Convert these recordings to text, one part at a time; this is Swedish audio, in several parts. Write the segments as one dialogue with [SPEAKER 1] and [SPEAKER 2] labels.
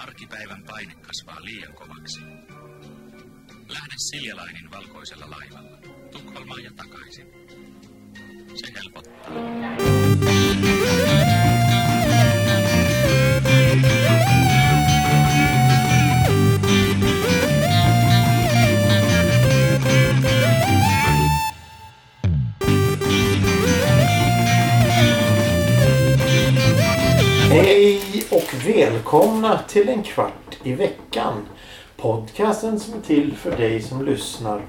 [SPEAKER 1] Arkipäivän paine kasvaa liian kovaksi. Lähde Siljalainin valkoisella laivalla. Tukholmaan ja takaisin. Se helpottaa.
[SPEAKER 2] Hej och välkomna till en kvart i veckan. Podcasten som är till för dig som lyssnar.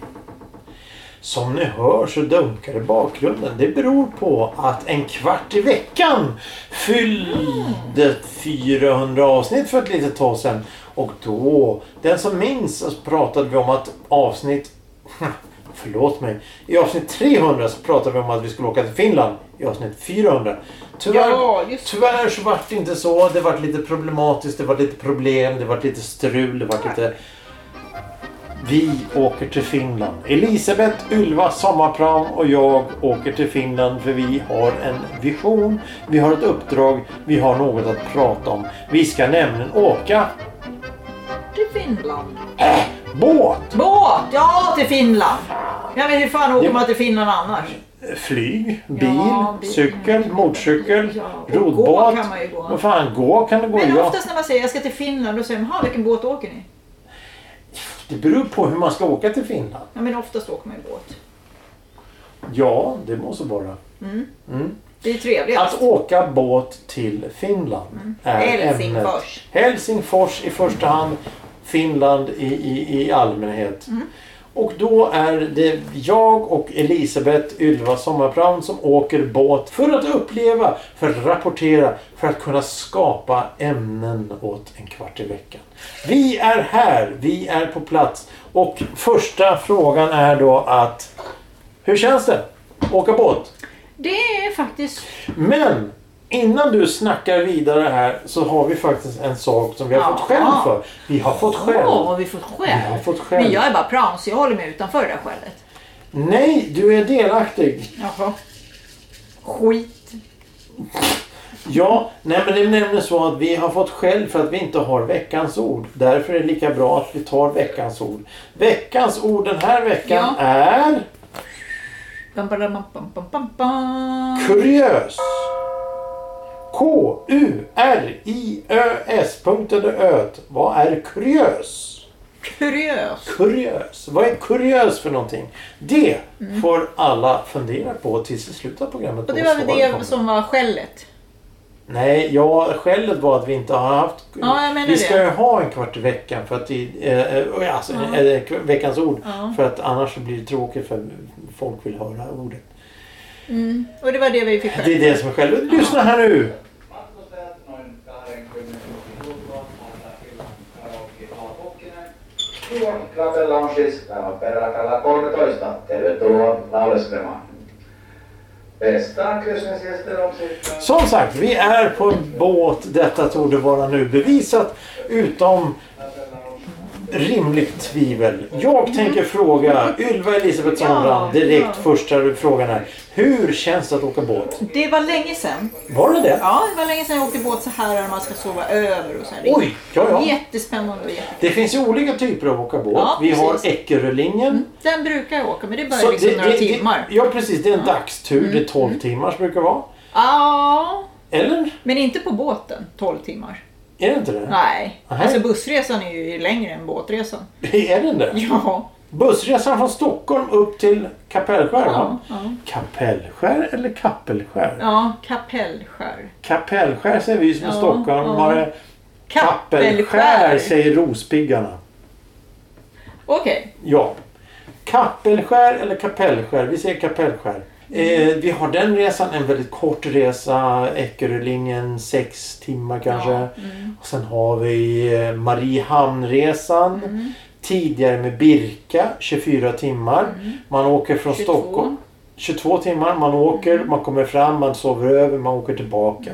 [SPEAKER 2] Som ni hör så dunkar det i bakgrunden. Det beror på att en kvart i veckan fyllde 400 avsnitt för ett litet tag sedan. Och då, den som minns, så pratade vi om att avsnitt... Förlåt mig. I avsnitt 300 så pratade vi om att vi skulle åka till Finland. I avsnitt 400. Tyvärr,
[SPEAKER 3] Ja, just det.
[SPEAKER 2] tyvärr så vart det inte så. Det vart lite problematiskt, det vart lite problem, det vart lite strul, det vart lite... Vi åker till Finland. Elisabeth, Ylva, Sommarpram och jag åker till Finland för vi har en vision, vi har ett uppdrag, vi har något att prata om. Vi ska nämligen åka
[SPEAKER 3] Till Finland.
[SPEAKER 2] båt,
[SPEAKER 3] Båt! Ja, till Finland! Ja, men hur fan åker
[SPEAKER 2] Jo.
[SPEAKER 3] man till Finland annars?
[SPEAKER 2] flyg, bil,
[SPEAKER 3] Ja, bil.
[SPEAKER 2] cykel, motorcykel,
[SPEAKER 3] Ja, och
[SPEAKER 2] rodbåt.
[SPEAKER 3] gå kan man ju gå.
[SPEAKER 2] Vad fan, gå kan det gå.
[SPEAKER 3] Men
[SPEAKER 2] Ja,
[SPEAKER 3] oftast när man säger jag ska till Finland, då säger man, "Jaha, vilken båt åker ni?
[SPEAKER 2] det beror på hur man ska åka till Finland.
[SPEAKER 3] Ja, men oftast åker man ju båt.
[SPEAKER 2] Ja, det måste vara.
[SPEAKER 3] Det är ju trevligast.
[SPEAKER 2] Att åka båt till Finland är
[SPEAKER 3] Helsingfors.
[SPEAKER 2] ämnet. Helsingfors i första hand. Finland i, i, i allmänhet.
[SPEAKER 3] Mm.
[SPEAKER 2] Och då är det jag och Elisabeth Ylva Sommarpram som åker båt för att uppleva, för att rapportera, för att kunna skapa ämnen åt en kvart i veckan. Vi är här, vi är på plats. Och första frågan är då att hur känns det? Åka båt?
[SPEAKER 3] Det är faktiskt...
[SPEAKER 2] Men innan du snackar vidare här så har vi faktiskt en sak som vi har
[SPEAKER 3] Ja.
[SPEAKER 2] fått skäll för. Vi har fått skäll.
[SPEAKER 3] Åh, har vi fått
[SPEAKER 2] Vi har
[SPEAKER 3] skäll?
[SPEAKER 2] fått skäll.
[SPEAKER 3] Men jag är bara prans, jag håller mig utanför det där skället.
[SPEAKER 2] Nej, du är delaktig.
[SPEAKER 3] Jaha. Skit.
[SPEAKER 2] Ja, nej men det är nämligen så att vi har fått skäll för att vi inte har veckans ord. Därför är det lika bra att vi tar veckans ord. Veckans ord den här veckan
[SPEAKER 3] Ja.
[SPEAKER 2] är
[SPEAKER 3] Bam, bam, bam, bam, bam, bam, bam.
[SPEAKER 2] kuriös. K-U-R-I-Ö-S. Punkten öt. Vad är kuriös?
[SPEAKER 3] Kuriös.
[SPEAKER 2] Kuriös. Vad är kuriös för någonting? Det får alla fundera på tills vi slutar programmet.
[SPEAKER 3] Mm. Och det
[SPEAKER 2] och
[SPEAKER 3] var väl
[SPEAKER 2] svaren
[SPEAKER 3] det
[SPEAKER 2] kommer.
[SPEAKER 3] som var skället.
[SPEAKER 2] Nej, ja, skälet var att vi inte har haft...
[SPEAKER 3] Ja, jag menar
[SPEAKER 2] vi ska
[SPEAKER 3] det.
[SPEAKER 2] ju ha en kvart i veckan för att... Det, eh, eh, alltså,
[SPEAKER 3] Ja.
[SPEAKER 2] eh, eh, veckans ord.
[SPEAKER 3] Ja.
[SPEAKER 2] För att annars så blir det tråkigt för folk vill höra ordet.
[SPEAKER 3] Mm. Och det var det vi fick
[SPEAKER 2] Det är
[SPEAKER 3] skäll
[SPEAKER 2] det som är skälet. Lyssna här nu!
[SPEAKER 4] Matkustajat noin 20 kuluttua palaa illan karaoke-alkokkinen. Tuon Klape Lounges, täällä on siis peräkalla 13. Tervetuloa lauleskelemaan. Pestaan kysymys ja sitten on siis sitten...
[SPEAKER 2] Som sagt, vi är på en båt. Detta torde vara nu bevisat. Utom rimligt tvivel. Jag tänker fråga Ylva Elisabeth Sandbrand
[SPEAKER 3] Mm. Ja,
[SPEAKER 2] direkt
[SPEAKER 3] ja.
[SPEAKER 2] första frågan här. Hur känns det att åka båt?
[SPEAKER 3] Det var länge sedan.
[SPEAKER 2] Var det det?
[SPEAKER 3] Ja, det var länge sedan jag åkte båt så här och man ska sova över och så här.
[SPEAKER 2] Oj, ja ja.
[SPEAKER 3] Jättespännande och jätte...
[SPEAKER 2] Det finns ju olika typer av åka båt.
[SPEAKER 3] Ja,
[SPEAKER 2] vi har
[SPEAKER 3] precis.
[SPEAKER 2] Eckerölinjen.
[SPEAKER 3] Den brukar jag åka men det börjar
[SPEAKER 2] Så
[SPEAKER 3] liksom
[SPEAKER 2] det-
[SPEAKER 3] några
[SPEAKER 2] det- det-
[SPEAKER 3] timmar. Mm.
[SPEAKER 2] Ja precis, det är en dagstur. Det är 12 timmars brukar vara.
[SPEAKER 3] Ja,
[SPEAKER 2] Eller?
[SPEAKER 3] men inte på båten 12 timmar.
[SPEAKER 2] Är det inte det?
[SPEAKER 3] Nej,
[SPEAKER 2] Aha.
[SPEAKER 3] alltså bussresan är ju längre än båtresan.
[SPEAKER 2] Är det det?
[SPEAKER 3] Ja,
[SPEAKER 2] Bussresan från Stockholm upp till Kapellskär va?
[SPEAKER 3] ja, ja.
[SPEAKER 2] Kapellskär eller Kappelskär?
[SPEAKER 3] ja Kapellskär.
[SPEAKER 2] Kapellskär säger vi som
[SPEAKER 3] Ja,
[SPEAKER 2] stockholmare.
[SPEAKER 3] ja.
[SPEAKER 2] Kappelskär säger rospiggarna.
[SPEAKER 3] Okej,
[SPEAKER 2] Ja. Kappelskär eller kapellskär? Vi säger kapellskär. Eh, vi har den resan, en väldigt kort resa. Eckerölinjen, sex timmar kanske.
[SPEAKER 3] Ja,
[SPEAKER 2] Och sen har vi eh, Mariehamnresan. Tidigare med Birka, 24 timmar. Man åker från
[SPEAKER 3] 22.
[SPEAKER 2] Stockholm. 22 timmar. Man åker, man kommer fram, man sover över, man åker tillbaka.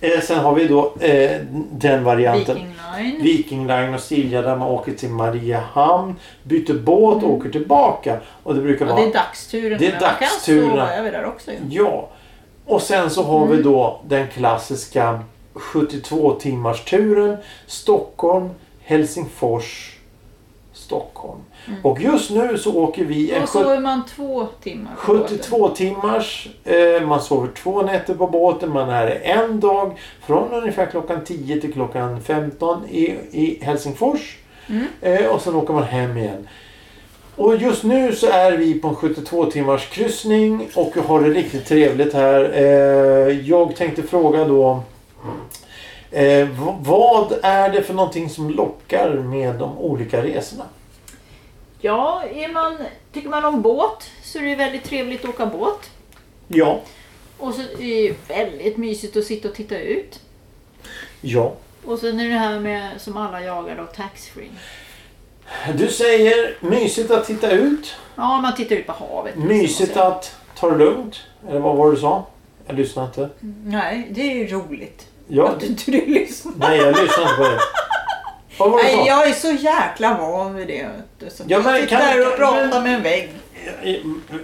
[SPEAKER 2] Eh, sen har vi då eh, den varianten.
[SPEAKER 3] Viking Line.
[SPEAKER 2] Viking Line och Silja där man åker till Mariehamn, byter båt och åker tillbaka. Och det brukar
[SPEAKER 3] Mm. Ja,
[SPEAKER 2] vara...
[SPEAKER 3] det är dagsturen.
[SPEAKER 2] Det är
[SPEAKER 3] men man kan
[SPEAKER 2] dagsturen.
[SPEAKER 3] sova över där också ju. Mm.
[SPEAKER 2] Ja. Och sen så har vi då den klassiska 72 timmars turen Stockholm, Helsingfors, Stockholm. Och just nu så åker vi en
[SPEAKER 3] Mm. Och så är man två timmar på båten.
[SPEAKER 2] 72 timmars. Eh, man sover två nätter på båten. Man är en dag från ungefär klockan 10 till klockan 15 i, i Helsingfors. Eh, och sen åker man hem igen. Och just nu så är vi på en 72 timmars kryssning och jag har det riktigt trevligt här. Eh, jag tänkte fråga då. Eh, v- vad är det för någonting som lockar med de olika resorna?
[SPEAKER 3] Ja, är man, tycker man om båt så är det väldigt trevligt att åka båt.
[SPEAKER 2] Ja.
[SPEAKER 3] Och så är det väldigt mysigt att sitta och titta ut.
[SPEAKER 2] Ja.
[SPEAKER 3] Och sen är det här med, som alla jagar då, taxfree.
[SPEAKER 2] Du säger mysigt att titta ut.
[SPEAKER 3] Ja, man tittar ut på havet. liksom, och
[SPEAKER 2] Mysigt
[SPEAKER 3] så-
[SPEAKER 2] att ta det lugnt. Eller vad var det du sa? Jag lyssnade inte.
[SPEAKER 3] Nej, det är ju roligt.
[SPEAKER 2] Ja,
[SPEAKER 3] Att du inte du lyssnar.
[SPEAKER 2] nej, jag lyssnade inte på det. Vad var det du
[SPEAKER 5] Nej,
[SPEAKER 2] sa?
[SPEAKER 5] jag är så jäkla van vid det. vet du, Så
[SPEAKER 2] Ja, men
[SPEAKER 5] jag sitter
[SPEAKER 2] kan-
[SPEAKER 5] där och pratar
[SPEAKER 2] men-
[SPEAKER 5] med en vägg.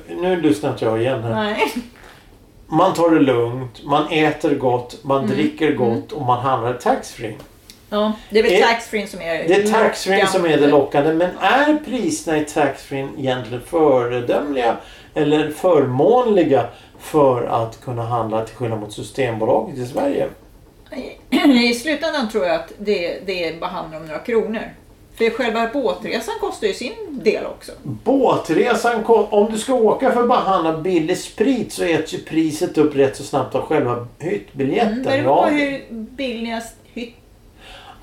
[SPEAKER 2] Nu lyssnar inte jag igen här.
[SPEAKER 3] Nej.
[SPEAKER 2] Man tar det lugnt, man äter gott, man dricker gott och man handlar taxfree.
[SPEAKER 3] Ja, det är väl
[SPEAKER 2] Är-
[SPEAKER 3] taxfree som är
[SPEAKER 2] Det är taxfree som är det
[SPEAKER 3] lockande.
[SPEAKER 2] lockande. Men är priserna i taxfree egentligen föredömliga eller förmånliga för att kunna handla till skillnad mot Systembolaget i Sverige?
[SPEAKER 3] I slutändan tror jag att det, det bara handlar om några kronor. För själva båtresan kostar ju sin del också.
[SPEAKER 2] Båtresan, ko- om du ska åka för att bara handla billig sprit så äts ju priset upp rätt så snabbt av själva hyttbiljetten.
[SPEAKER 3] Mm, det beror på
[SPEAKER 2] ja.
[SPEAKER 3] hur billigast hytt...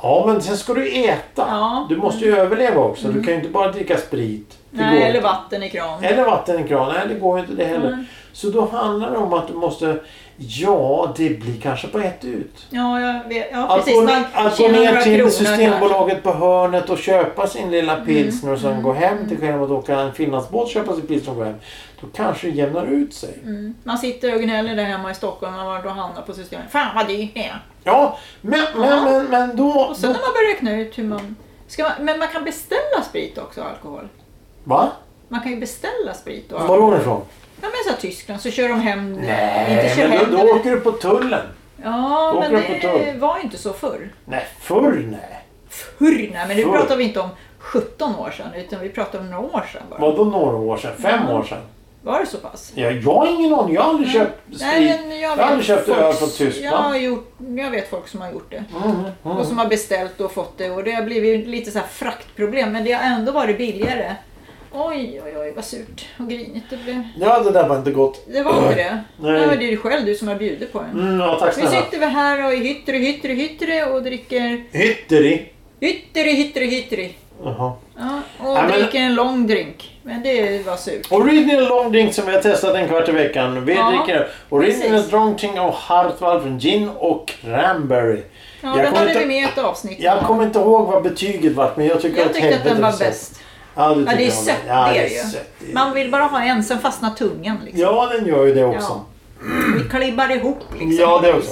[SPEAKER 2] ja, men sen ska du äta.
[SPEAKER 3] Ja. Mm.
[SPEAKER 2] Du måste ju överleva också. Du kan ju inte bara dricka sprit. Det
[SPEAKER 3] Nej,
[SPEAKER 2] går
[SPEAKER 3] eller
[SPEAKER 2] inte.
[SPEAKER 3] vatten Mm. i kran.
[SPEAKER 2] eller vatten i kran. Nej, det går ju inte det heller.
[SPEAKER 3] Nej.
[SPEAKER 2] Så då handlar det om att du måste... Ja, det blir kanske på ett ut.
[SPEAKER 3] Ja, jag vet. Ja,
[SPEAKER 2] Att
[SPEAKER 3] precis.
[SPEAKER 2] gå,
[SPEAKER 3] man
[SPEAKER 2] att gå
[SPEAKER 3] tjänar
[SPEAKER 2] ner
[SPEAKER 3] några
[SPEAKER 2] alltså, till
[SPEAKER 3] kronor Mm.
[SPEAKER 2] Systembolaget på hörnet och köpa sin lilla pilsner och sen gå hem till skillnad mot att åka en finlandsbåt och köpa sin pilsner och gå hem. Då kanske det jämnar ut sig.
[SPEAKER 3] kanske. Mm. Man sitter och gnäller där hemma i Stockholm och man då handlar på Systemet. Fan vad dyrt det är.
[SPEAKER 2] Ja, men, men, men, men då...
[SPEAKER 3] Och
[SPEAKER 2] då
[SPEAKER 3] sen när man börjar räkna ut hur man... Ska man... Men man kan beställa sprit också och alkohol.
[SPEAKER 2] va?
[SPEAKER 3] Man kan ju beställa sprit och
[SPEAKER 2] Var
[SPEAKER 3] alkohol.
[SPEAKER 2] är hon ifrån?
[SPEAKER 3] Ja men så här, Tyskland så kör de hem... inte
[SPEAKER 2] Nej,
[SPEAKER 3] kör hem
[SPEAKER 2] men då,
[SPEAKER 3] det,
[SPEAKER 2] då
[SPEAKER 3] men-
[SPEAKER 2] åker du på tullen.
[SPEAKER 3] Ja,
[SPEAKER 2] Då
[SPEAKER 3] men
[SPEAKER 2] åker de på
[SPEAKER 3] det
[SPEAKER 2] tåg.
[SPEAKER 3] var ju inte så förr.
[SPEAKER 2] Nej, förr nej.
[SPEAKER 3] Förr, nej, men nu
[SPEAKER 2] Förr.
[SPEAKER 3] pratar vi inte om 17 år sedan, utan vi pratar om några år sedan bara.
[SPEAKER 2] Vadå några år sedan? Fem år sedan?
[SPEAKER 3] Var det så pass?
[SPEAKER 2] Ja, jag har ingen aning. Jag har aldrig köpt sprit. har aldrig köpt öl från
[SPEAKER 3] Jag, har
[SPEAKER 2] Tyskland.
[SPEAKER 3] gjort, jag vet folk som har gjort det.
[SPEAKER 2] Mm, mm.
[SPEAKER 3] Och som har beställt och fått det. Och det har blivit lite så här fraktproblem, men det har ändå varit billigare. Oj, oj, oj, vad surt och grinigt det blev.
[SPEAKER 2] Ja, det där var inte gott.
[SPEAKER 3] Det var inte det.
[SPEAKER 2] Nej.
[SPEAKER 3] Nej. Det var det ju själv du som har bjudit på det.
[SPEAKER 2] Mm, ja, tack
[SPEAKER 3] Nu
[SPEAKER 2] snälla.
[SPEAKER 3] sitter vi här och i hyttre, hyttre, hyttre och dricker
[SPEAKER 2] Hytteri.
[SPEAKER 3] hyttre, hyttre, hyttre.
[SPEAKER 2] Jaha.
[SPEAKER 3] Ja, och
[SPEAKER 2] Ja, men-
[SPEAKER 3] dricker en lång drink. Men det var surt.
[SPEAKER 2] Original long drink som vi har testat en kvart i veckan. Vi
[SPEAKER 3] Ja,
[SPEAKER 2] dricker original
[SPEAKER 3] precis.
[SPEAKER 2] long drink av Hartwall från gin och cranberry.
[SPEAKER 3] Ja,
[SPEAKER 2] Jag
[SPEAKER 3] den
[SPEAKER 2] kommer
[SPEAKER 3] hade
[SPEAKER 2] inte-
[SPEAKER 3] vi med i ett avsnitt.
[SPEAKER 2] Jag kommer inte ihåg vad betyget var men jag tycker
[SPEAKER 3] Jag
[SPEAKER 2] att
[SPEAKER 3] tyckte att den
[SPEAKER 2] helvete
[SPEAKER 3] var
[SPEAKER 2] är sött.
[SPEAKER 3] bäst.
[SPEAKER 2] Ja, du
[SPEAKER 3] Ja, det är
[SPEAKER 2] tycker
[SPEAKER 3] sött,
[SPEAKER 2] den var- ja,
[SPEAKER 3] det är
[SPEAKER 2] det
[SPEAKER 3] ju.
[SPEAKER 2] är sött. Det är-
[SPEAKER 3] Man vill bara ha en, sen fastnar tungan. Liksom.
[SPEAKER 2] Ja, den gör ju det också.
[SPEAKER 3] Vi klibbar ihop. Liksom.
[SPEAKER 2] Ja, det också.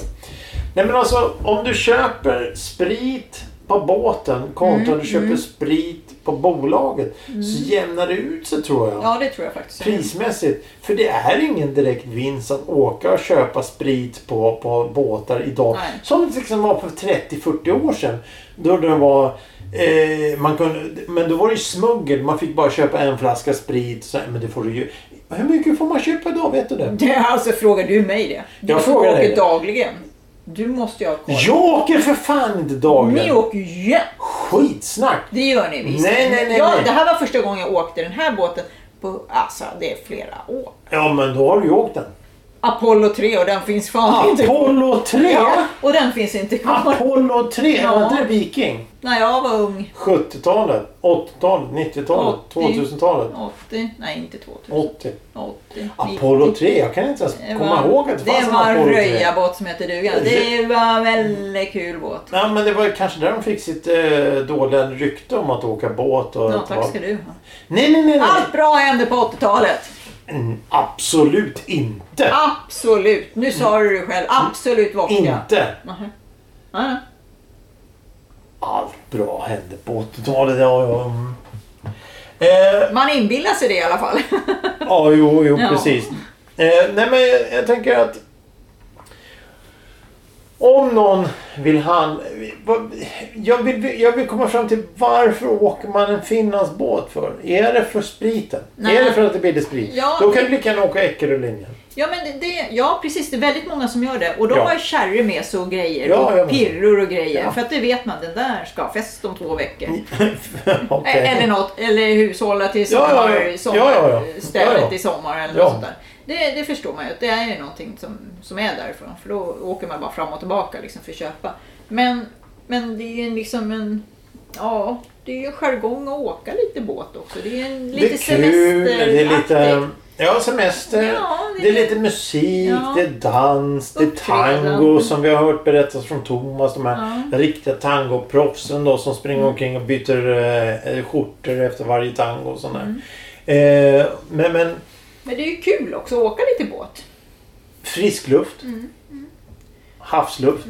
[SPEAKER 2] Nej men alltså om du köper sprit på båten kontra
[SPEAKER 3] Mm,
[SPEAKER 2] du köper sprit på bolaget så jämnar det ut sig tror jag.
[SPEAKER 3] Ja, det tror jag faktiskt.
[SPEAKER 2] Prismässigt. För det är ingen direkt vinst att åka och köpa sprit på, på båtar idag.
[SPEAKER 3] Nej.
[SPEAKER 2] Som det liksom var på 30-40 år sedan. Då det var, eh, man kunde, men då var det ju smuggel. Man fick bara köpa en flaska sprit. Så, men det får du ju, hur mycket får man köpa idag? Vet du det?
[SPEAKER 3] Det, alltså, frågar du mig det? Du
[SPEAKER 2] Jag frågar dig
[SPEAKER 3] åker
[SPEAKER 2] det.
[SPEAKER 3] dagligen. Du måste ju ha koll.
[SPEAKER 2] Jag åker för fan inte
[SPEAKER 3] Ni
[SPEAKER 2] dagligen.
[SPEAKER 3] åker ju jämt.
[SPEAKER 2] Skitsnack!
[SPEAKER 3] Det gör ni visst.
[SPEAKER 2] Nej, nej, nej,
[SPEAKER 3] ja,
[SPEAKER 2] nej.
[SPEAKER 3] Det här var första gången jag åkte den här båten. På, alltså, det är flera år.
[SPEAKER 2] Ja men då har du ju åkt den.
[SPEAKER 3] Apollo 3 och den finns fan inte kvar.
[SPEAKER 2] Apollo 3!
[SPEAKER 3] Ja, och den finns inte kvar.
[SPEAKER 2] Apollo 3!
[SPEAKER 3] Ja.
[SPEAKER 2] Var inte det Viking?
[SPEAKER 3] När jag var ung,
[SPEAKER 2] 70-talet, 80-talet, 90-talet,
[SPEAKER 3] 80.
[SPEAKER 2] 2000-talet.
[SPEAKER 3] 80, nej inte 2000,
[SPEAKER 2] 80.
[SPEAKER 3] 80,
[SPEAKER 2] Apollo 3, jag kan inte ens
[SPEAKER 3] Det
[SPEAKER 2] komma
[SPEAKER 3] var-
[SPEAKER 2] ihåg att det fanns
[SPEAKER 3] Det
[SPEAKER 2] en
[SPEAKER 3] var en
[SPEAKER 2] Apollo 3.
[SPEAKER 3] röjarbåt som hette duga. Det var en väldigt kul båt.
[SPEAKER 2] Nej men det var ju kanske där de fick sitt eh, dåliga rykte om att åka båt och...
[SPEAKER 3] Ja,
[SPEAKER 2] att
[SPEAKER 3] tack
[SPEAKER 2] vara-
[SPEAKER 3] ska du ha.
[SPEAKER 2] Nej nej nej! nej.
[SPEAKER 3] Allt bra hände på 80-talet.
[SPEAKER 2] Mm, Absolut inte!
[SPEAKER 3] Absolut. Nu sa du det själv. Absolut vodka.
[SPEAKER 2] Inte!
[SPEAKER 3] Nähä. Ja,
[SPEAKER 2] Allt bra hände på 80-talet. Ja, ja. mm. Eh,
[SPEAKER 3] Man inbillar sig det i alla fall.
[SPEAKER 2] Ja, jo, jo
[SPEAKER 3] Ja.
[SPEAKER 2] precis. Eh, nej, men jag, jag tänker att om någon Vill han... vad- Jag vill, jag vill komma fram till varför åker man en Finlandsbåt för? Är det för spriten?
[SPEAKER 3] Nej.
[SPEAKER 2] Är det för att det blir sprit?
[SPEAKER 3] Ja.
[SPEAKER 2] Då kan du lika gärna åka Eckerölinjen.
[SPEAKER 3] Ja, men det, det, ja, precis. Det är väldigt många som gör det. Och de
[SPEAKER 2] Ja.
[SPEAKER 3] har ju kärror med sig och grejer.
[SPEAKER 2] Ja, ja, men-
[SPEAKER 3] och pirror och grejer.
[SPEAKER 2] Ja. Mm.
[SPEAKER 3] För att det vet man, den där ska ha fest om två veckor.
[SPEAKER 2] Okej.
[SPEAKER 3] E- Eller något, eller hushålla till
[SPEAKER 2] Ja, ja,
[SPEAKER 3] sommar,
[SPEAKER 2] ja.
[SPEAKER 3] sommar,
[SPEAKER 2] Ja, ja, ja.
[SPEAKER 3] stället
[SPEAKER 2] Ja, ja.
[SPEAKER 3] i sommar eller
[SPEAKER 2] Ja.
[SPEAKER 3] något sånt där. Det, det förstår man ju, att det är ju någonting som, som är därifrån. För då åker man bara fram och tillbaka liksom, för att köpa. Men, men det är ju liksom en... Ja, det är ju en jargong att åka lite båt också. Det är en lite
[SPEAKER 2] det är lite...
[SPEAKER 3] semesteraktigt.
[SPEAKER 2] Ja, semester.
[SPEAKER 3] Ja,
[SPEAKER 2] det är
[SPEAKER 3] lite-
[SPEAKER 2] lite musik,
[SPEAKER 3] Ja.
[SPEAKER 2] det är dans, det är
[SPEAKER 3] Uppträdande.
[SPEAKER 2] tango som vi har hört berättas från Thomas. De här
[SPEAKER 3] Ja.
[SPEAKER 2] riktiga tangoproffsen då som springer
[SPEAKER 3] Mm.
[SPEAKER 2] omkring och byter eh, skjortor efter varje tango och sånt där.
[SPEAKER 3] Mm.
[SPEAKER 2] Eh, men, men
[SPEAKER 3] Men det är ju kul också att åka lite båt.
[SPEAKER 2] frisk luft.
[SPEAKER 3] Mm,
[SPEAKER 2] Havsluft.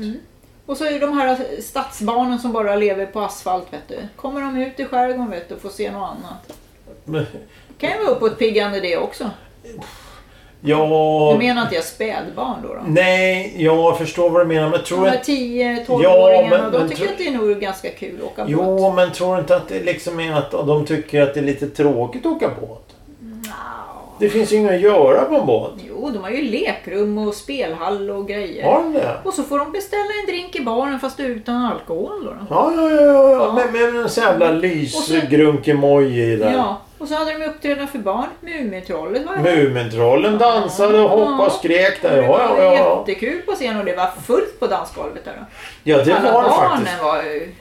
[SPEAKER 3] Och så är det de här stadsbarnen som bara lever på asfalt vet du. Kommer de ut i skärgården vet du och får se något annat.
[SPEAKER 2] Men-
[SPEAKER 3] Kan ju vara uppåtpiggande det också.
[SPEAKER 2] Ja...
[SPEAKER 3] Du menar att jag är spädbarn då? då?
[SPEAKER 2] Nej, jag förstår vad du menar men tror
[SPEAKER 3] De
[SPEAKER 2] jag...
[SPEAKER 3] här 10-12-åringarna,
[SPEAKER 2] Ja, men-
[SPEAKER 3] de
[SPEAKER 2] men
[SPEAKER 3] tycker
[SPEAKER 2] tror-
[SPEAKER 3] att det är nog ganska kul att åka båt.
[SPEAKER 2] Jo, men tror du inte att det liksom är att de tycker att det är lite tråkigt att åka båt?
[SPEAKER 3] Nja.
[SPEAKER 2] Det finns ju inget att göra på en båt.
[SPEAKER 3] Jo, de har ju lekrum och spelhall och grejer.
[SPEAKER 2] Har de det?
[SPEAKER 3] Och så får de beställa en drink i baren fast utan alkohol då. då.
[SPEAKER 2] Ja, ja, ja. ja, ja.
[SPEAKER 3] Ja.
[SPEAKER 2] Men, men en sån jävla
[SPEAKER 3] Och så-
[SPEAKER 2] lysgrunkemoji där.
[SPEAKER 3] Ja, och så hade de uppträdande för barn. Mumintrollet var ju
[SPEAKER 2] Mumintrollen dansade och hoppade och skrek där.
[SPEAKER 3] Det
[SPEAKER 2] Ja,
[SPEAKER 3] var
[SPEAKER 2] ja, ja, ja.
[SPEAKER 3] jättekul på scen och det var fullt på dansgolvet där. Då.
[SPEAKER 2] Ja, det
[SPEAKER 3] Alla
[SPEAKER 2] var det
[SPEAKER 3] barnen
[SPEAKER 2] faktiskt.
[SPEAKER 3] var ju...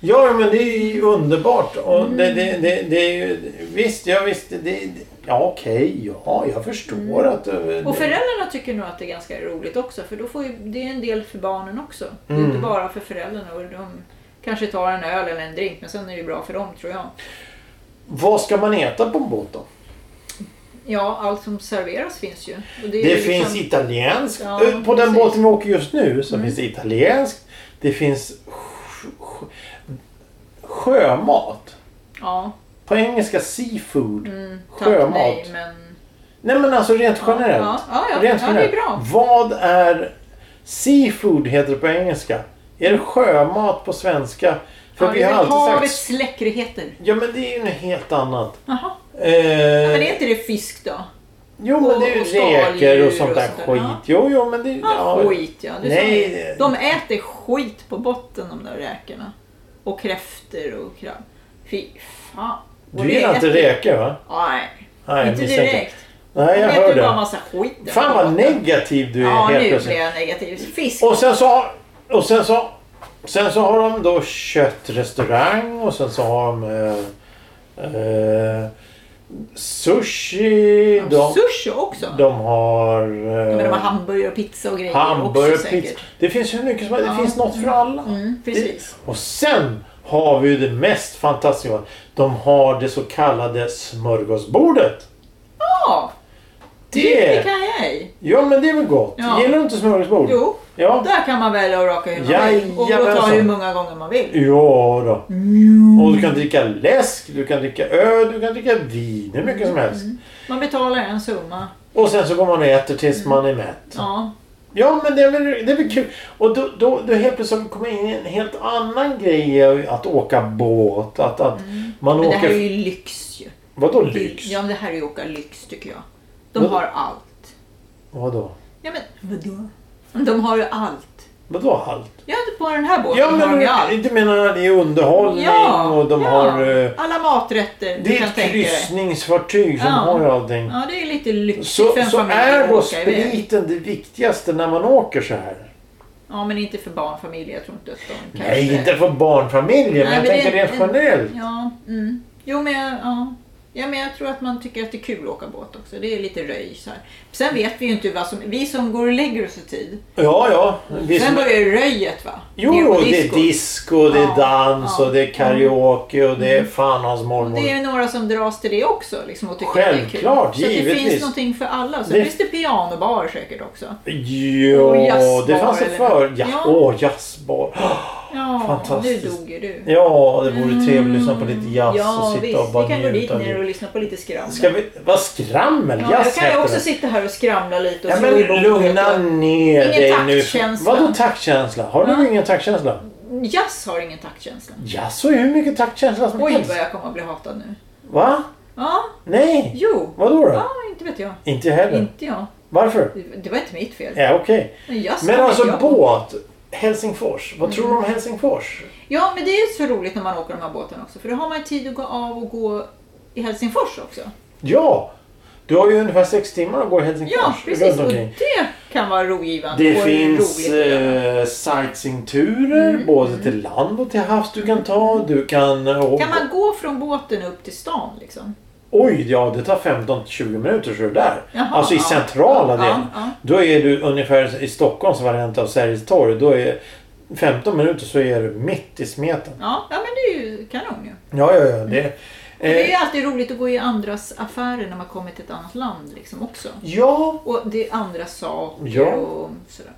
[SPEAKER 2] Ja, ja, men det är ju underbart. Och
[SPEAKER 3] Mm.
[SPEAKER 2] det, det, det, det är ju... Visst, ja, visst. Det, det, ja, okej. Ja, jag förstår att... eh, du-
[SPEAKER 3] Mm. Och föräldrarna tycker nog att det är ganska roligt också för då får ju, det är en del för barnen också. Det är
[SPEAKER 2] Mm.
[SPEAKER 3] inte bara för föräldrarna. Och de kanske tar en öl eller en drink men sen är det ju bra för dem tror jag.
[SPEAKER 2] Vad ska man äta på en båt då?
[SPEAKER 3] Ja, allt som serveras finns ju. Och det är
[SPEAKER 2] Det
[SPEAKER 3] ju liksom-
[SPEAKER 2] finns italienskt.
[SPEAKER 3] Ja,
[SPEAKER 2] Eh, på den
[SPEAKER 3] precis. Mm.
[SPEAKER 2] båten vi åker just nu så finns det italienskt. Det finns sj- sj- sjömat.
[SPEAKER 3] Ja,
[SPEAKER 2] På engelska seafood.
[SPEAKER 3] tack
[SPEAKER 2] sjömat.
[SPEAKER 3] nej
[SPEAKER 2] nej, men...
[SPEAKER 3] men...
[SPEAKER 2] alltså rent generellt.
[SPEAKER 3] Ja, ja, ja.
[SPEAKER 2] rent
[SPEAKER 3] Ja, det är bra.
[SPEAKER 2] Vad är seafood heter det på engelska? Är det sjömat på svenska? För
[SPEAKER 3] Ja,
[SPEAKER 2] vi
[SPEAKER 3] det
[SPEAKER 2] har
[SPEAKER 3] är väl
[SPEAKER 2] alltid
[SPEAKER 3] havets
[SPEAKER 2] sagt...
[SPEAKER 3] läckerheter.
[SPEAKER 2] Ja men det är ju något helt annat.
[SPEAKER 3] Jaha.
[SPEAKER 2] Eh,
[SPEAKER 3] Men är inte det fisk då?
[SPEAKER 2] Jo men
[SPEAKER 3] och-
[SPEAKER 2] det är ju
[SPEAKER 3] och skaldjur
[SPEAKER 2] räkor och
[SPEAKER 3] och
[SPEAKER 2] sånt där
[SPEAKER 3] sånt där,
[SPEAKER 2] skit.
[SPEAKER 3] ja.
[SPEAKER 2] Jo jo men det är...
[SPEAKER 3] Ja, Ah, skit ja. Du sa
[SPEAKER 2] Nej,
[SPEAKER 3] ju.
[SPEAKER 2] det-
[SPEAKER 3] De äter skit på botten de där räkorna. Och kräftor och krabb. Fy fan. Och
[SPEAKER 2] Du gillar
[SPEAKER 3] det
[SPEAKER 2] inte
[SPEAKER 3] äter-
[SPEAKER 2] räkor va?
[SPEAKER 3] Nej,
[SPEAKER 2] Nej,
[SPEAKER 3] inte
[SPEAKER 2] misstänker.
[SPEAKER 3] direkt.
[SPEAKER 2] Nej, jag
[SPEAKER 3] de äter
[SPEAKER 2] hör
[SPEAKER 3] bara
[SPEAKER 2] det.
[SPEAKER 3] massa skit. där
[SPEAKER 2] Fan
[SPEAKER 3] på
[SPEAKER 2] vad
[SPEAKER 3] botten.
[SPEAKER 2] negativ du är
[SPEAKER 3] Ja,
[SPEAKER 2] helt
[SPEAKER 3] nu blir
[SPEAKER 2] plötsligt.
[SPEAKER 3] jag negativ. Fisk.
[SPEAKER 2] Och sen så har... Och sen så... Sen så har de då köttrestaurang och sen så har de... Eh, eh, sushi. De,
[SPEAKER 3] Sushi också.
[SPEAKER 2] de har...
[SPEAKER 3] Men de har
[SPEAKER 2] Eh,
[SPEAKER 3] hamburgare och pizza och grejer
[SPEAKER 2] hamburgare,
[SPEAKER 3] också säkert.
[SPEAKER 2] pizza. Det finns hur mycket som helst. Det finns något för alla.
[SPEAKER 3] Mm, precis.
[SPEAKER 2] Det, och sen har vi ju det mest fantastiska. De har det så kallade smörgåsbordet.
[SPEAKER 3] Ja, Typ det, det kan jag ej.
[SPEAKER 2] Ja men det är väl gott?
[SPEAKER 3] Ja.
[SPEAKER 2] Gillar du inte smörgåsbord?
[SPEAKER 3] Jo,
[SPEAKER 2] Ja.
[SPEAKER 3] där kan man välja och raka hur man vill. Och ta
[SPEAKER 2] Jajamensan.
[SPEAKER 3] hur många gånger man vill.
[SPEAKER 2] Ja då. Och
[SPEAKER 3] Mm.
[SPEAKER 2] du kan dricka läsk, du kan dricka öl, du kan dricka vin, hur mycket som helst.
[SPEAKER 3] Man betalar en summa.
[SPEAKER 2] Och sen så går man och äter tills man är mätt.
[SPEAKER 3] Mm. Ja,
[SPEAKER 2] Ja men det är väl, det är väl kul. Och då, då, då helt plötsligt kommer in en helt annan grej i att åka båt. Att, att man
[SPEAKER 3] Mm. men det
[SPEAKER 2] åker...
[SPEAKER 3] här är ju lyx ju.
[SPEAKER 2] Vadå lyx?
[SPEAKER 3] Ja, men det här är ju åka lyx tycker jag. De
[SPEAKER 2] Vadå?
[SPEAKER 3] har allt.
[SPEAKER 2] Vadå?
[SPEAKER 3] Ja, men vadå? De har ju allt.
[SPEAKER 2] Vadå allt?
[SPEAKER 3] Ja, på den här båten
[SPEAKER 2] Ja
[SPEAKER 3] har
[SPEAKER 2] men
[SPEAKER 3] de ju allt.
[SPEAKER 2] du menar det är underhållning och de har... eh,
[SPEAKER 3] alla maträtter du
[SPEAKER 2] Det är
[SPEAKER 3] kan
[SPEAKER 2] ett
[SPEAKER 3] tänka dig.
[SPEAKER 2] kryssningsfartyg som
[SPEAKER 3] Ja.
[SPEAKER 2] har allting.
[SPEAKER 3] Ja, det är lite lyxigt för
[SPEAKER 2] Så,
[SPEAKER 3] en
[SPEAKER 2] så
[SPEAKER 3] familj
[SPEAKER 2] är
[SPEAKER 3] att
[SPEAKER 2] då
[SPEAKER 3] åka iväg.
[SPEAKER 2] spriten det viktigaste när man åker så här?
[SPEAKER 3] Ja, men inte för barnfamiljer. Jag tror inte att de kanske...
[SPEAKER 2] Nej, inte för barnfamiljer, men
[SPEAKER 3] Nej,
[SPEAKER 2] jag
[SPEAKER 3] men det-
[SPEAKER 2] tänker rent generellt.
[SPEAKER 3] Ja, mm. Jo, men jag, ja. Ja, men jag tror att man tycker att det är kul att åka båt också. Det är lite röj så här. Sen vet vi ju inte vad som... Vi som går och lägger oss i tid.
[SPEAKER 2] Ja, ja. Vi
[SPEAKER 3] Sen
[SPEAKER 2] som,
[SPEAKER 3] börjar ju röjet va?
[SPEAKER 2] jo,
[SPEAKER 3] Ner på
[SPEAKER 2] jo, det är
[SPEAKER 3] disco.
[SPEAKER 2] disco, det är
[SPEAKER 3] Ja,
[SPEAKER 2] dans
[SPEAKER 3] ja.
[SPEAKER 2] och det är karaoke och det är fan hans
[SPEAKER 3] Och det
[SPEAKER 2] mormor.
[SPEAKER 3] är några som dras till det också liksom, och tycker att det är kul.
[SPEAKER 2] Självklart,
[SPEAKER 3] Så att det
[SPEAKER 2] givetvis.
[SPEAKER 3] finns någonting för alla. Så
[SPEAKER 2] Det-
[SPEAKER 3] finns det pianobar säkert också.
[SPEAKER 2] Jo,
[SPEAKER 3] Och jazzbar
[SPEAKER 2] det fanns det
[SPEAKER 3] eller-
[SPEAKER 2] förr. Ja,
[SPEAKER 3] Ja.
[SPEAKER 2] åh, jazzbar.
[SPEAKER 3] Ja,
[SPEAKER 2] Fantastiskt.
[SPEAKER 3] nu dog ju du.
[SPEAKER 2] Ja, det vore trevligt att lyssna på lite jazz
[SPEAKER 3] Mm. ja,
[SPEAKER 2] och sitta
[SPEAKER 3] visst.
[SPEAKER 2] och bara
[SPEAKER 3] vi kan gå dit
[SPEAKER 2] njuta av
[SPEAKER 3] ner och
[SPEAKER 2] livet.
[SPEAKER 3] lyssna på lite skrammel.
[SPEAKER 2] Ska vi... Vad skrammel?
[SPEAKER 3] ja, jag
[SPEAKER 2] jazz
[SPEAKER 3] kan ju
[SPEAKER 2] heter
[SPEAKER 3] också
[SPEAKER 2] det.
[SPEAKER 3] sitta här och skramla lite och
[SPEAKER 2] Ja,
[SPEAKER 3] slå i
[SPEAKER 2] men
[SPEAKER 3] bordet
[SPEAKER 2] lugna
[SPEAKER 3] och-
[SPEAKER 2] ner
[SPEAKER 3] Ingen
[SPEAKER 2] dig nu.
[SPEAKER 3] taktkänsla.
[SPEAKER 2] Vadå taktkänsla? Har du
[SPEAKER 3] Ja.
[SPEAKER 2] ingen taktkänsla?
[SPEAKER 3] Jazz har ingen taktkänsla.
[SPEAKER 2] Jaså, hur mycket taktkänsla som
[SPEAKER 3] Oj,
[SPEAKER 2] helst?
[SPEAKER 3] vad jag kommer att bli hatad nu.
[SPEAKER 2] Va?
[SPEAKER 3] Ja,
[SPEAKER 2] Nej?
[SPEAKER 3] jo.
[SPEAKER 2] Vadå då?
[SPEAKER 3] Ja, inte vet jag.
[SPEAKER 2] Inte heller?
[SPEAKER 3] Inte jag.
[SPEAKER 2] Varför?
[SPEAKER 3] Det det var inte mitt fel.
[SPEAKER 2] Ja, okej.
[SPEAKER 3] Men, jazz
[SPEAKER 2] Men
[SPEAKER 3] kan inte
[SPEAKER 2] alltså
[SPEAKER 3] jag.
[SPEAKER 2] båt. Helsingfors. Vad tror du om
[SPEAKER 3] Mm.
[SPEAKER 2] Helsingfors?
[SPEAKER 3] Ja, men det är ju så roligt när man åker de här båtarna också. För då har man ju tid att gå av och gå i Helsingfors också.
[SPEAKER 2] Ja! Du har ju ungefär sex timmar att gå i Helsingfors.
[SPEAKER 3] Ja, precis.
[SPEAKER 2] runt
[SPEAKER 3] Och
[SPEAKER 2] omkring.
[SPEAKER 3] det kan vara rogivande.
[SPEAKER 2] Det
[SPEAKER 3] och
[SPEAKER 2] finns
[SPEAKER 3] roligt att göra. Mm.
[SPEAKER 2] eh, sightseeingturer både till land och till havs du kan ta. Du kan... eh,
[SPEAKER 3] Kan man gå från båten upp till stan liksom?
[SPEAKER 2] Oj, ja det tar 15-20 minuter så är du där.
[SPEAKER 3] Jaha,
[SPEAKER 2] alltså i
[SPEAKER 3] ja.
[SPEAKER 2] centrala
[SPEAKER 3] Ja,
[SPEAKER 2] delen.
[SPEAKER 3] ja.
[SPEAKER 2] Då är du ungefär i Stockholms variant av Sergels torg. Då är 15 minuter så är du mitt i smeten.
[SPEAKER 3] Ja, ja men det är ju kanon ju.
[SPEAKER 2] Ja, ja, ja. Det,
[SPEAKER 3] Det är ju
[SPEAKER 2] eh,
[SPEAKER 3] alltid roligt att gå i andras affärer när man kommer till ett annat land liksom också.
[SPEAKER 2] ja,
[SPEAKER 3] Och det är andra saker
[SPEAKER 2] Ja.
[SPEAKER 3] och sådär.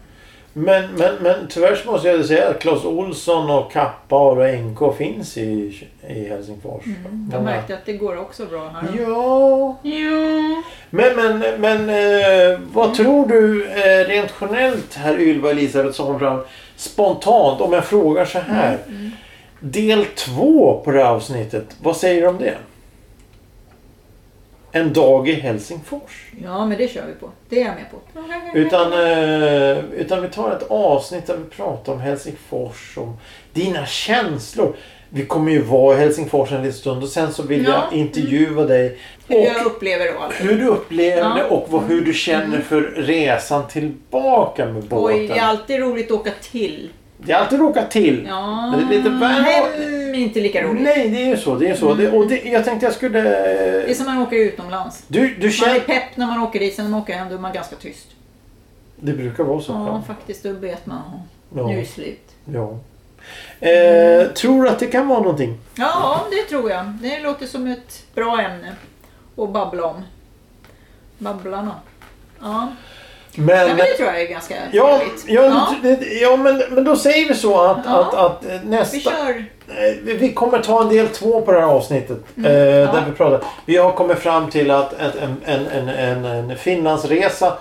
[SPEAKER 2] men, men, men tyvärr så måste jag säga att Claes Olsson och Kappa och NK finns i, i Helsingfors.
[SPEAKER 3] Jag
[SPEAKER 2] Många-
[SPEAKER 3] märkte att det går också bra här.
[SPEAKER 2] Ja,
[SPEAKER 3] Jo.
[SPEAKER 2] men, men, men eh, vad tror du eh, rent generellt herr Ylva Elisabeth Sonnenbrand spontant om jag frågar så här. Del två på det här avsnittet, vad säger du om det? En dag i Helsingfors.
[SPEAKER 3] Ja, men det kör vi på. Det är jag med på.
[SPEAKER 2] Utan, eh, utan vi tar ett avsnitt där vi pratar om Helsingfors, om dina känslor. Vi kommer ju vara i Helsingfors en liten stund och sen så vill
[SPEAKER 3] Ja. mm.
[SPEAKER 2] jag intervjua dig.
[SPEAKER 3] Hur
[SPEAKER 2] Och-
[SPEAKER 3] jag upplever då allting.
[SPEAKER 2] hur du upplever
[SPEAKER 3] Ja.
[SPEAKER 2] det och vad, hur du känner för resan tillbaka med båten.
[SPEAKER 3] Oj, det är alltid roligt att åka till.
[SPEAKER 2] Det är alltid råka till.
[SPEAKER 3] Ja.
[SPEAKER 2] Men det är lite väl-
[SPEAKER 3] Hem, inte lika roligt. Mm.
[SPEAKER 2] Nej, det är ju så. Det är ju så. Det, och det, jag tänkte jag skulle...
[SPEAKER 3] Det är som när man åker utomlands.
[SPEAKER 2] Du, du
[SPEAKER 3] Man är
[SPEAKER 2] känner...
[SPEAKER 3] pepp när man åker dit, sen när man åker hem då är man ganska tyst.
[SPEAKER 2] Det brukar vara så.
[SPEAKER 3] Ja,
[SPEAKER 2] Ja.
[SPEAKER 3] faktiskt. Då vet man. ja,
[SPEAKER 2] Ja.
[SPEAKER 3] Nu är det slut.
[SPEAKER 2] ja. Eh, tror du att det kan vara någonting?
[SPEAKER 3] Ja, det tror jag. Det låter som ett bra ämne att babbla om. Babblarna. Ja, Nej, men det tror jag är ganska
[SPEAKER 2] Ja,
[SPEAKER 3] trevligt.
[SPEAKER 2] ja, Det, ja men, men då säger vi så att,
[SPEAKER 3] Ja.
[SPEAKER 2] att, att eh, nästa...
[SPEAKER 3] Vi kör.
[SPEAKER 2] Eh, Vi vi kommer ta en del två på det här avsnittet.
[SPEAKER 3] Mm.
[SPEAKER 2] eh, Där vi pratar. Vi har kommit fram till att att en, en, en, en, en Finlandsresa.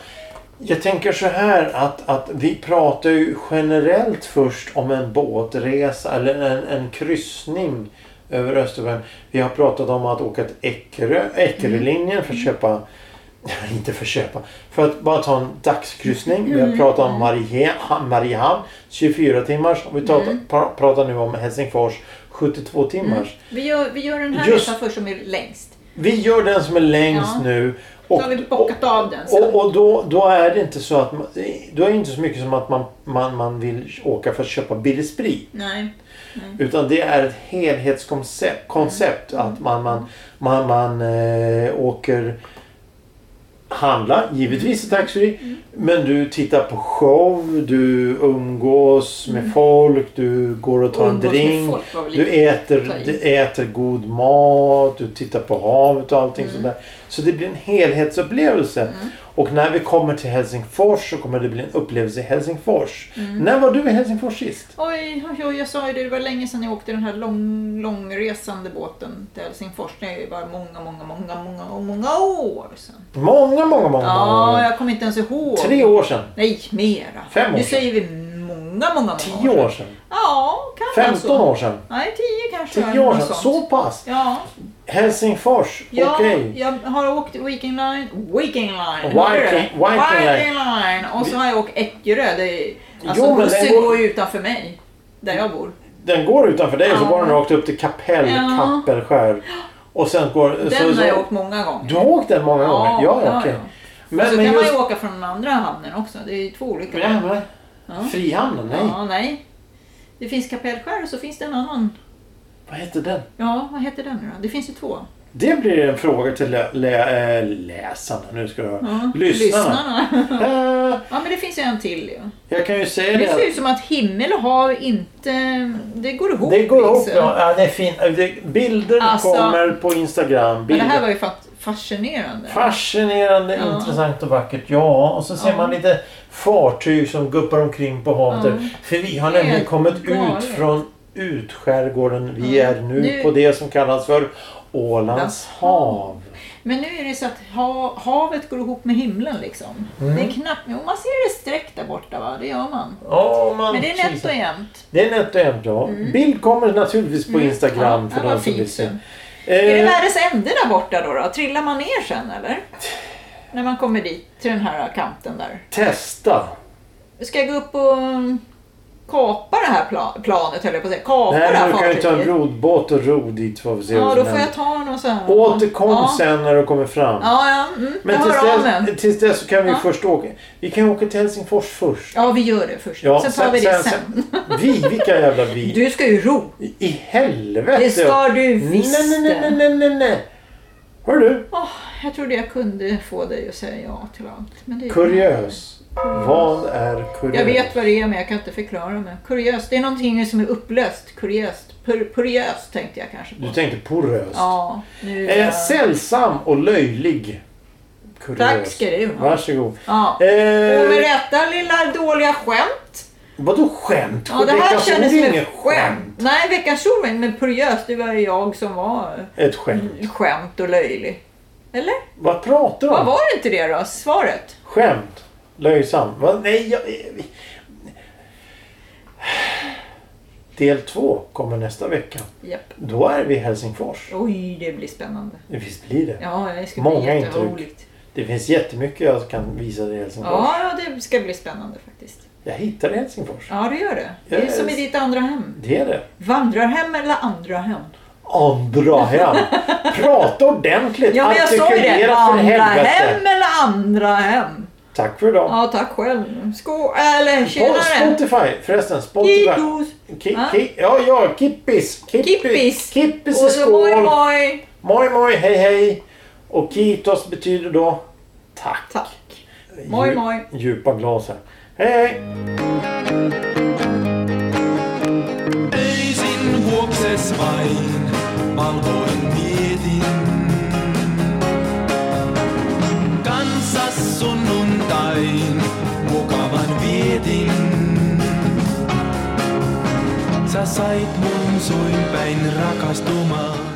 [SPEAKER 2] Jag tänker så här att, att vi pratar ju generellt först om en båtresa eller en, en kryssning över Östersjön. Vi har pratat om att åka till Eckerö, Eckerölinjen för att
[SPEAKER 3] Mm.
[SPEAKER 2] köpa inte för att köpa. För att bara ta en dagskryssning. Vi
[SPEAKER 3] Mm.
[SPEAKER 2] har pratat om Marie, Mariehamn 24 timmars. Och vi pratar,
[SPEAKER 3] Mm.
[SPEAKER 2] pra- pratar nu om Helsingfors 72 timmars.
[SPEAKER 3] Vi gör, vi gör den här
[SPEAKER 2] Just-
[SPEAKER 3] resan först som är längst.
[SPEAKER 2] Vi gör den som är längst
[SPEAKER 3] Ja.
[SPEAKER 2] nu.
[SPEAKER 3] Så har vi bockat av den sen.
[SPEAKER 2] Och, och då, då är det inte så att man, då är det inte så mycket som att man, man, man vill åka för att köpa billig sprit.
[SPEAKER 3] Nej.
[SPEAKER 2] Utan det är ett helhetskoncept. Koncept,
[SPEAKER 3] Mm.
[SPEAKER 2] Att man, man, man, man eh, åker handla, givetvis i taxfree.
[SPEAKER 3] Mm.
[SPEAKER 2] Men du tittar på show, du umgås med folk, du går och tar en
[SPEAKER 3] Mm. Umgås med
[SPEAKER 2] drink.
[SPEAKER 3] folk var väl
[SPEAKER 2] Du
[SPEAKER 3] lite-
[SPEAKER 2] äter,
[SPEAKER 3] ta i.
[SPEAKER 2] du äter god mat, du tittar på havet och allting
[SPEAKER 3] Mm.
[SPEAKER 2] sådär. Så det blir en helhetsupplevelse. Och när vi kommer till Helsingfors så kommer det bli en upplevelse i Helsingfors.
[SPEAKER 3] Mm.
[SPEAKER 2] När var du i Helsingfors sist?
[SPEAKER 3] Oj, oj, oj, jag sa ju det, det var länge sedan jag åkte den här lång, långresande båten till Helsingfors. Det var många, många, många, många, många år sedan.
[SPEAKER 2] Många, många, många,
[SPEAKER 3] Ja,
[SPEAKER 2] många år.
[SPEAKER 3] jag kommer inte ens ihåg.
[SPEAKER 2] Tre år sedan.
[SPEAKER 3] Nej, mera.
[SPEAKER 2] Fem år
[SPEAKER 3] Nu
[SPEAKER 2] sedan.
[SPEAKER 3] säger vi många, många, många
[SPEAKER 2] Tio år sedan.
[SPEAKER 3] Ja, kan vara så.
[SPEAKER 2] 15 år sedan.
[SPEAKER 3] Nej, tio kanske.
[SPEAKER 2] Tio år
[SPEAKER 3] Alltså, något
[SPEAKER 2] sedan.
[SPEAKER 3] sånt.
[SPEAKER 2] Så pass.
[SPEAKER 3] Ja,
[SPEAKER 2] Helsingfors.
[SPEAKER 3] ja
[SPEAKER 2] Okej.
[SPEAKER 3] jag har åkt Viking Line, Viking Line,
[SPEAKER 2] Viking-
[SPEAKER 3] hörde du det?
[SPEAKER 2] Viking Line.
[SPEAKER 3] Viking Line. och så har jag åkt Eckerö. Det är, alltså
[SPEAKER 2] Jo, men den
[SPEAKER 3] bussen
[SPEAKER 2] går-
[SPEAKER 3] går ju utanför mig, där jag bor.
[SPEAKER 2] Den går utanför dig och så
[SPEAKER 3] Ja.
[SPEAKER 2] går den rakt upp till Kapell,
[SPEAKER 3] Ja.
[SPEAKER 2] Kappelskär. Och sen går... så,
[SPEAKER 3] Den har jag åkt många gånger.
[SPEAKER 2] Du har åkt den många
[SPEAKER 3] Ja,
[SPEAKER 2] gånger? Ja,
[SPEAKER 3] ja,
[SPEAKER 2] okej.
[SPEAKER 3] ja. och
[SPEAKER 2] Men,
[SPEAKER 3] så
[SPEAKER 2] men
[SPEAKER 3] kan
[SPEAKER 2] just...
[SPEAKER 3] man ju åka från Alltså, den andra hamnen också. Det är ju två olika.
[SPEAKER 2] Ja, men-
[SPEAKER 3] Ja.
[SPEAKER 2] Frihamnen? Nej.
[SPEAKER 3] Ja, nej. Det finns Kapellskär och så finns det en annan.
[SPEAKER 2] Vad heter den?
[SPEAKER 3] Ja, vad heter den nu då? Det finns ju två.
[SPEAKER 2] Det blir en fråga till lä- lä- äh, läsarna. Nu ska du höra.
[SPEAKER 3] Ja.
[SPEAKER 2] Lyssnarna. Eh,
[SPEAKER 3] ja, men det finns ju en till ju.
[SPEAKER 2] jag kan ju säga
[SPEAKER 3] Det
[SPEAKER 2] det.
[SPEAKER 3] ser
[SPEAKER 2] att-
[SPEAKER 3] ut som att himmel och hav inte... Det går ihop.
[SPEAKER 2] Det går ihop.
[SPEAKER 3] liksom.
[SPEAKER 2] Ja, Ja, det är fint. Det- Bilder
[SPEAKER 3] Alltså-
[SPEAKER 2] kommer på Instagram.
[SPEAKER 3] Men det
[SPEAKER 2] Bilder.
[SPEAKER 3] här var ju fant- fascinerande.
[SPEAKER 2] Fascinerande,
[SPEAKER 3] Ja.
[SPEAKER 2] intressant och vackert. Ja, och så ser
[SPEAKER 3] Ja.
[SPEAKER 2] man lite fartyg som guppar omkring på havet.
[SPEAKER 3] Ja.
[SPEAKER 2] där. För vi har
[SPEAKER 3] Helt
[SPEAKER 2] nämligen kommit ut
[SPEAKER 3] galet.
[SPEAKER 2] från utskärgården. Vi
[SPEAKER 3] Ja.
[SPEAKER 2] är nu
[SPEAKER 3] Nu-
[SPEAKER 2] på det som kallas för Ålands
[SPEAKER 3] Ålands
[SPEAKER 2] hav.
[SPEAKER 3] Men nu är det så att ha, havet går ihop med himlen liksom.
[SPEAKER 2] Mm.
[SPEAKER 3] Det är knappt, jo man ser det streck där borta va, det gör man.
[SPEAKER 2] Ja, om man
[SPEAKER 3] Men det är nätt
[SPEAKER 2] kikar-
[SPEAKER 3] och jämnt.
[SPEAKER 2] Det är nätt och jämnt, ja. Bild kommer naturligtvis på
[SPEAKER 3] Mm.
[SPEAKER 2] Instagram
[SPEAKER 3] Ja,
[SPEAKER 2] för
[SPEAKER 3] ja,
[SPEAKER 2] de
[SPEAKER 3] vad
[SPEAKER 2] som
[SPEAKER 3] fint
[SPEAKER 2] vill se.
[SPEAKER 3] sen. Är det
[SPEAKER 2] Eh,
[SPEAKER 3] världens ände där borta då, då? Trillar man ner sen eller? När man kommer dit, till den här kanten där.
[SPEAKER 2] testa.
[SPEAKER 3] Ska jag gå upp och mm, kapa det här pla- planet höll jag på att säga. Kapa det
[SPEAKER 2] Nej,
[SPEAKER 3] här
[SPEAKER 2] men du kan ju ta en
[SPEAKER 3] fartyget.
[SPEAKER 2] rodbåt och ro dit får vi se
[SPEAKER 3] Ja,
[SPEAKER 2] vad som
[SPEAKER 3] då får jag
[SPEAKER 2] händer.
[SPEAKER 3] ta någon sån här...
[SPEAKER 2] Återkom
[SPEAKER 3] ja.
[SPEAKER 2] sen när du kommer fram.
[SPEAKER 3] Ja, ja. Mm, jag
[SPEAKER 2] Men tills
[SPEAKER 3] hör av mig.
[SPEAKER 2] dess, tills dess så kan vi
[SPEAKER 3] Ja.
[SPEAKER 2] först åka. Vi kan åka till Helsingfors först.
[SPEAKER 3] Ja, vi gör det först.
[SPEAKER 2] Ja,
[SPEAKER 3] sen tar vi det sen.
[SPEAKER 2] Vi, vilka jävla vi.
[SPEAKER 3] Du ska ju ro.
[SPEAKER 2] I helvete.
[SPEAKER 3] Det ska du visst
[SPEAKER 2] Nej, nej, nej, nej, nej, nej. Hör du,
[SPEAKER 3] Åh, jag trodde jag kunde få dig att säga ja till allt. Men det är
[SPEAKER 2] kuriös. Vad är kuriös?
[SPEAKER 3] Jag vet vad det är men jag kan inte förklara mig. Kuriöst, det är någonting som är upplöst. Kuriöst. Pur, puriöst tänkte jag kanske på.
[SPEAKER 2] Du tänkte porös.
[SPEAKER 3] Ja, nu...
[SPEAKER 2] Eh, sällsam och löjlig. Kuriös.
[SPEAKER 3] Tack ska du ha.
[SPEAKER 2] Varsågod.
[SPEAKER 3] Ja. Och med
[SPEAKER 2] Eh,
[SPEAKER 3] detta lilla dåliga skämt.
[SPEAKER 2] vadå skämt?
[SPEAKER 3] Ja, det här
[SPEAKER 2] Veckans ord är
[SPEAKER 3] kändes som
[SPEAKER 2] inget
[SPEAKER 3] ett skämt. Nej, veckans ord var inte- men puriöst, det var ju jag som var
[SPEAKER 2] Ett skämt.
[SPEAKER 3] skämt och löjlig. Eller?
[SPEAKER 2] Vad pratar du om?
[SPEAKER 3] Vad var det inte det då? Svaret?
[SPEAKER 2] Skämt. Löjsam. Va? Nej, jag... eh, Del två kommer nästa vecka.
[SPEAKER 3] Japp.
[SPEAKER 2] Då är vi i Helsingfors.
[SPEAKER 3] Oj, det blir spännande.
[SPEAKER 2] Visst blir det?
[SPEAKER 3] Ja, det ska
[SPEAKER 2] Många
[SPEAKER 3] bli
[SPEAKER 2] intryck.
[SPEAKER 3] jätteroligt.
[SPEAKER 2] Det finns jättemycket jag kan visa dig i Helsingfors.
[SPEAKER 3] Ja, ja, det ska bli spännande faktiskt.
[SPEAKER 2] Jag hittade Helsingfors.
[SPEAKER 3] Ja, det gör det. Det är
[SPEAKER 2] Yes.
[SPEAKER 3] som i ditt andra hem.
[SPEAKER 2] Det är det.
[SPEAKER 3] Vandrarhem eller andra hem?
[SPEAKER 2] Andra hem. Prata ordentligt.
[SPEAKER 3] Ja, men jag sa ju det.
[SPEAKER 2] Artikulera för
[SPEAKER 3] Vandrarhem
[SPEAKER 2] helvete.
[SPEAKER 3] eller andra hem?
[SPEAKER 2] Tack för idag.
[SPEAKER 3] Ja, tack själv. Skål, eller
[SPEAKER 2] På
[SPEAKER 3] tjenare.
[SPEAKER 2] Spotify. Förresten, Spotify.
[SPEAKER 3] Kitos.
[SPEAKER 2] Ki,
[SPEAKER 3] Va?
[SPEAKER 2] ki, ja, ja, kippis.
[SPEAKER 3] Kippis.
[SPEAKER 2] Kippis är
[SPEAKER 3] Och så moj
[SPEAKER 2] skål.
[SPEAKER 3] moj.
[SPEAKER 2] Moj, moj, hej, hej. Och kitos betyder då tack.
[SPEAKER 3] Tack. Moj, moj.
[SPEAKER 2] Dju- Djupa glas här. Hej, hej.
[SPEAKER 6] Eisin vuokses vain valkoin mietin. Kansas sunnuntain mukavan vietin. Sä sait mun suin päin rakastumaan.